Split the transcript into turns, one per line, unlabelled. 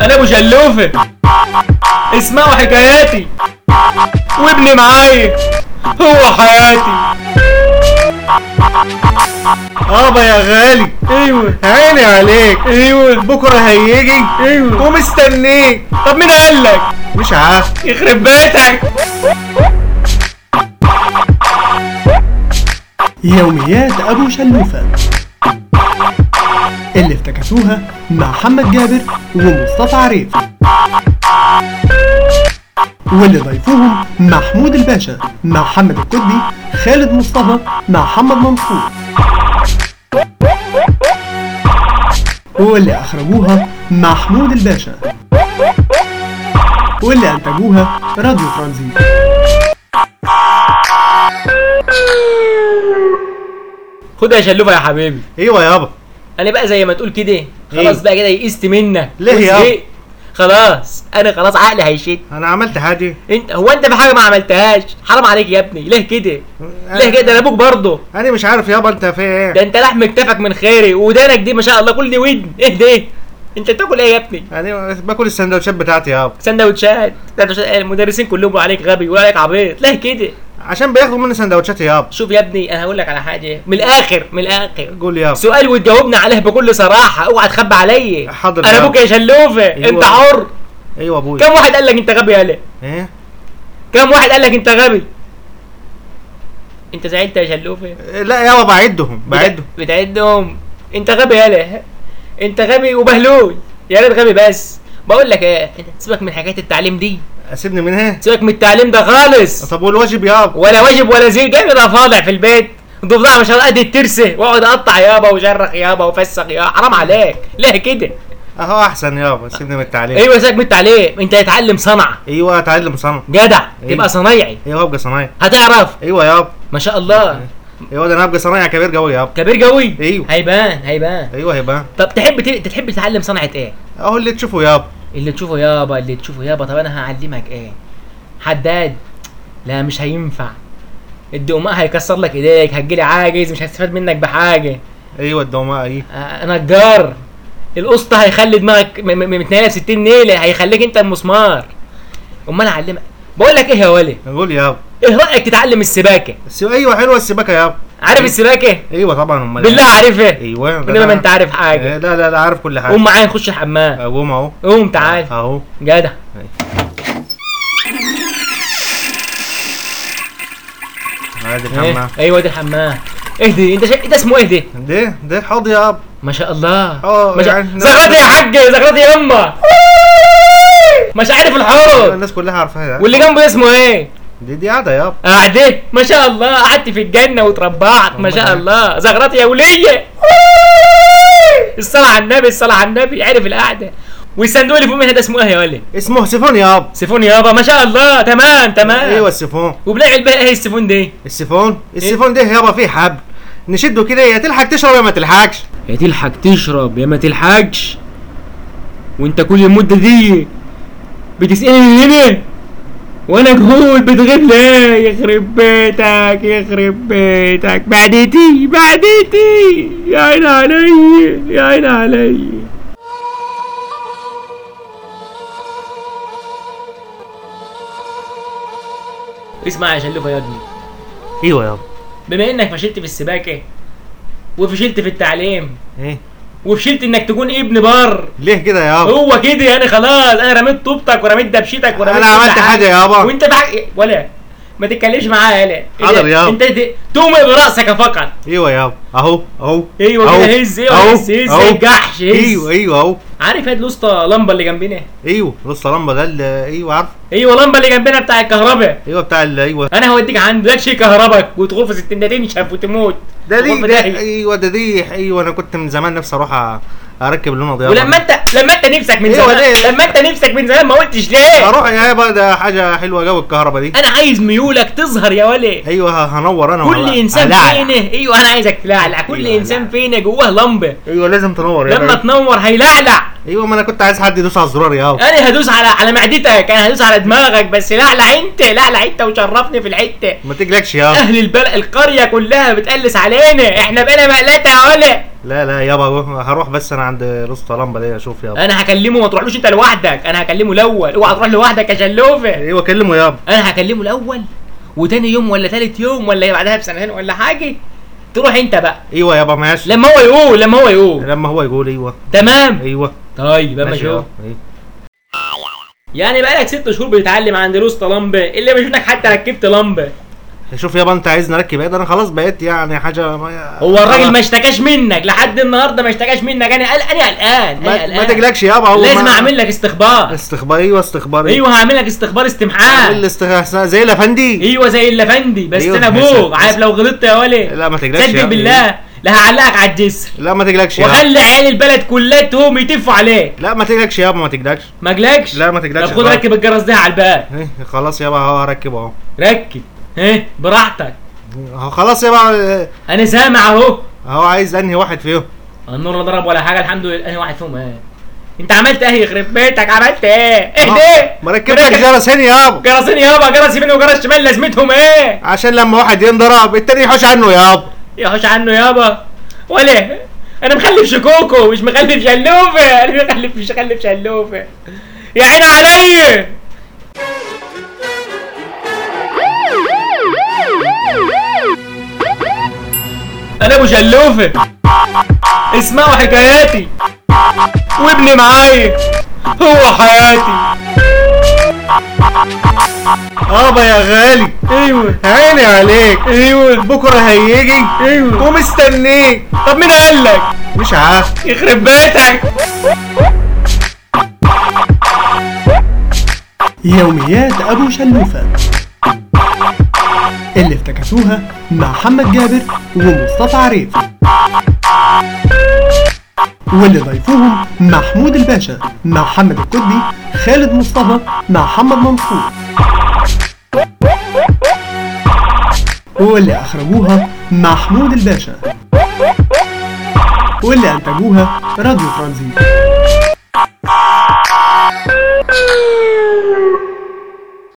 انا ابو شلوفه اسمعوا حكاياتي وابني معايا هو حياتي
ابا آه، يا غالي
ايوه
عيني عليك
ايوه
بكره هيجي
ايوه
ومستنيك
طب مين قال لك
مش عارف
يخرب بيتك
يوميات أبو شلوفة اللي افتكسوها مع محمد جابر ومصطفى عريف واللي ضيفوهم محمود الباشا مع محمد الكتبي خالد مصطفى مع محمد منصور واللي أخرجوها محمود الباشا واللي أنتجوها راديو ترانزيت
خد يا شلوفه يا حبيبي
ايوه يابا
انا بقى زي ما تقول كده خلاص
إيه؟
بقى كده يئست منك
ليه يا-
وزهقت. خلاص انا خلاص عقلي هيشت
انا عملت حاجه
انت هو انت في حاجه ما عملتهاش حرام عليك يا ابني ليه كده ليه كده ده انا ابوك برضه
انا مش عارف يابا انت في
ده
ايه
انت لحم كتفك من خيري ودانك دي ما شاء الله كل دي ودن ايه ده انت بتاكل ايه يا ابني
انا يعني باكل السندوتشات بتاعتي يابا
سندوتشات سندوتشات إيه؟ المدرسين كلهم بيقولوا عليك غبي ويقولوا عليك عبيط ليه كده
عشان بياخدوا مني سندوتشاتي يابا
شوف يا ابني انا هقول لك على حاجه من الاخر من الاخر
قول يابا
سؤال وتجاوبنا عليه بكل صراحه اوعى تخبي عليا
حاضر
انا
يابا.
ابوك يا شلوفه
ايوه.
انت حر
ايوه ابوي
كم واحد قال لك انت غبي يا لا
ايه
كم واحد قال لك انت غبي انت زعلت يا شلوفه
لا يابا بعدهم بعدهم
بتع- بتعدهم انت غبي يالا انت غبي وبهلول يا ريت غبي بس بقول لك ايه انت سيبك من حكايه التعليم دي
اسيبني منها
سيبك من التعليم ده خالص
طب والواجب يابا
ولا واجب ولا زين جاي من ضفادع في البيت ضفدع مش قد الترسه واقعد اقطع يابا وجرخ يابا وفسخ يا حرام عليك ليه كده
اهو احسن يابا سيبني من التعليم
ايوه سيبك من التعليم انت هتتعلم صنعه
ايوه اتعلم صنعه
جدع
ايوه.
تبقى صنايعي
ايوه ابقى صنايعي
هتعرف
ايوه يابا
ما شاء الله
ايوه ده انا ابقى صنايعي كبير قوي يابا
كبير قوي
ايوه.
هيبان هيبان
ايوه هيبقى
طب تحب ت- انت تحب تتعلم صنعه ايه
اهو اللي تشوفه يابا
اللي تشوفه يابا اللي تشوفه يابا طب انا هعلمك ايه حداد لا مش هينفع الدقماء هيكسر لك ايديك هتجيلي عاجز مش هستفاد منك بحاجه
ايوه الدوماء ايه
آه، نجار القسط هيخلي دماغك م- م- متنيله 60 نيله هيخليك انت المسمار امال اعلمك بقول لك ايه يا ولي
قول يابا
ايه رايك تتعلم السباكه
الس- ايوه حلوه السباكه يابا
عارف السباكه
ايوه طبعا امال إيه؟
بالله عارفها
ايوه ده
انما ما
أنا-
انت عارف حاجه
إيه، لا لا لا عارف كل حاجه
قوم معايا نخش الحمام
اقوم اهو
قوم تعال
اهو
جدع
عادي
إيه؟
الحمام
ايوه ده الحمام اهدي انت شا... ده اسمه إيه اهدي
ده ده حاضي يابا
ما شاء الله
اه،
ما شاء...
يعني-
زغرتي يا حاج زغرتي يما مش عارف الحوض
الناس كلها عارفاها يابا.
واللي جنبه اسمه ايه؟
دي دي عاده يابا
قعدت ما شاء الله قعدت في الجنه وتربعت ما شاء الله زغرتي يا وليه الصلاه على النبي الصلاه على النبي عرف القعده والصندوق اللي فوق منها ده اسمه ايه يا ولد؟
اسمه سيفون يابا
سيفون يابا ما شاء الله تمام تمام
ايوه السيفون
وبنعمل بقى ايه السيفون ده؟
السيفون
إيه.
السيفون ده يابا فيه حبل نشده كده يا تلحق تشرب يا ما تلحقش
يا يعني تلحق تشرب يا ما تلحقش وانت كل المدة دي بتسألني من هنا وانا جهول بتغيب ليه يخرب بيتك يخرب بيتك بعدتي بعدتي يا عيني عليا يا عيني عليا اسمع يا شلوفه يا ابني أيوة
ايوه يابا
بما انك فشلت في السباكه وفشلت في التعليم
ايه
وفشلت انك تكون ابن بر
ليه كده يابا
هو كده يعني خلاص انا رميت طوبتك ورميت دبشتك ورميت
انا
كل
عملت حاجه يابا
وانت بحق ولا ما تتكلمش معايا يالا
حاضر يابا.
انت ت- تؤمن براسك فقط
ايوه يابا اهو اهو
ايوه
أهو.
كده هز ايوه
أهو.
هز هز
أهو.
ما تجحش هز
ايوه ايوه اهو
عارف هاد الوسطى لمبه اللي جنبنا
ايوه بص لمبه ده اللي- ايوه عارف
ايوه لمبه اللي جنبنا بتاع الكهرباء
ايوه بتاع ال- ايوه
انا هوديك عند لكش كهربك وتغرف ستين ده تنشف وتموت
ده ليه
غرفة
ده
داهية.
ايوه ده دي ايوه انا كنت من زمان نفسي اروح أ- اركب لونه ضياء
ولما انت لما انت نفسك من
ايوه
زمان
ليه؟
لما انت نفسك من زمان ما قلتش ليه
اروح يا يابا ده حاجه حلوه قوي الكهرباء دي
انا عايز ميولك تظهر يا ولد
ايوه ه- هنور انا
كل
وهلع-
انسان
هلعلع.
فينا ايوه انا عايزك تلعلع كل
أيوة،
انسان
هلعلع.
فينا جواه لمبه
ايوه لازم تنور يا
لما
بابا.
تنور أه. هيلعلع
ايوه ما انا كنت عايز حد يدوس على الزرار يا بابا.
انا هدوس على على معدتك انا هدوس على دماغك بس لعلع انت لعلع انت وشرفني في الحته أه.
ما تجلكش يا بابا.
اهل البلد القريه كلها بتقلس علينا احنا بقينا مقلته يا ولد
لا لا يابا روح هروح بس انا عند الاسطى لمبه دي اشوف يابا
انا هكلمه ما تروحلوش انت لوحدك انا هكلمه الاول اوعى تروح لوحدك يا شلوفه
ايوه كلمه يابا
انا هكلمه الاول وتاني يوم ولا تالت يوم ولا بعدها بسنتين ولا حاجه تروح انت بقى
ايوه يابا ماشي
لما هو يقول لما هو يقول
لما هو يقول ايوه
تمام
ايوه
طيب اما
ماشي
شوف
يابا أيوة.
يعني بقالك ست شهور بتتعلم عند الوسطى لمبه اللي ما شفناك حتى ركبت لمبه
إيه. شوف يابا انت عايزني اركب ايه ده انا خلاص بقيت يعني حاجه ما
هو الراجل ما اشتكاش منك لحد النهارده ما اشتكاش منك انا قلق انا قلقان انا
ما,
قلقان
ما تقلقش يابا هو
آه. لازم
ما-
اعمل لك استخبار
استخبار ايوه استخبار
ايوه هعمل لك استخبار
اعمل لي
استمعاء
استخ- زي الافندي
ايوه زي الافندي بس
أيوة،
انا
بس-
ابوك
بس-
عارف لو غلطت يا ولد
لا ما تقلقش
صدق
يابا.
بالله لا هعلقك على الجسر
لا ما تقلقش يابا
واخلي عيال البلد كلها تقوم يتفوا عليك
لا ما تقلقش يابا ما تقلقش
ما اقلقش
لا، ما تقلقش
طب خد
خلاص.
ركب الجرس ده على الباب
إيه، خلاص يابا اهو هركب اهو
ركب ها براحتك
اهو خلاص يابا
انا سامع اهو
اهو عايز انهي واحد فيهم
النور لا ضرب ولا حاجه الحمد لله انا واحد فيهم ايه انت عملت ايه يخرب بيتك عملت ايه ايه ده
آه، ما ركبتك جرس هنا يابا
جرسين يابا جرس يمين وجرس شمال لازمتهم ايه
عشان لما واحد ينضرب التاني يحوش عنه يابا
يا هوش عنه يابا ولا انا مخلف شكوكو مش مخلف شلوفه انا مخلف مش مخلف شلوفه يا عيني عليا انا ابو شلوفه اسمعوا حكاياتي وابني معايا هو حياتي
ابا يا غالي
ايوه
عيني عليك
ايوه
بكره هيجي
ايوه
ومستنيك
طب مين قال لك
مش عارف
يخرب بيتك
يوميات أبو شلوفة اللي افتكتوها مع محمد جابر ومصطفى عريف واللي ضيفوهم محمود الباشا مع محمد الكدي خالد مصطفى مع محمد منصور واللي أخرجوها محمود الباشا واللي أنتجوها راديو ترانزيت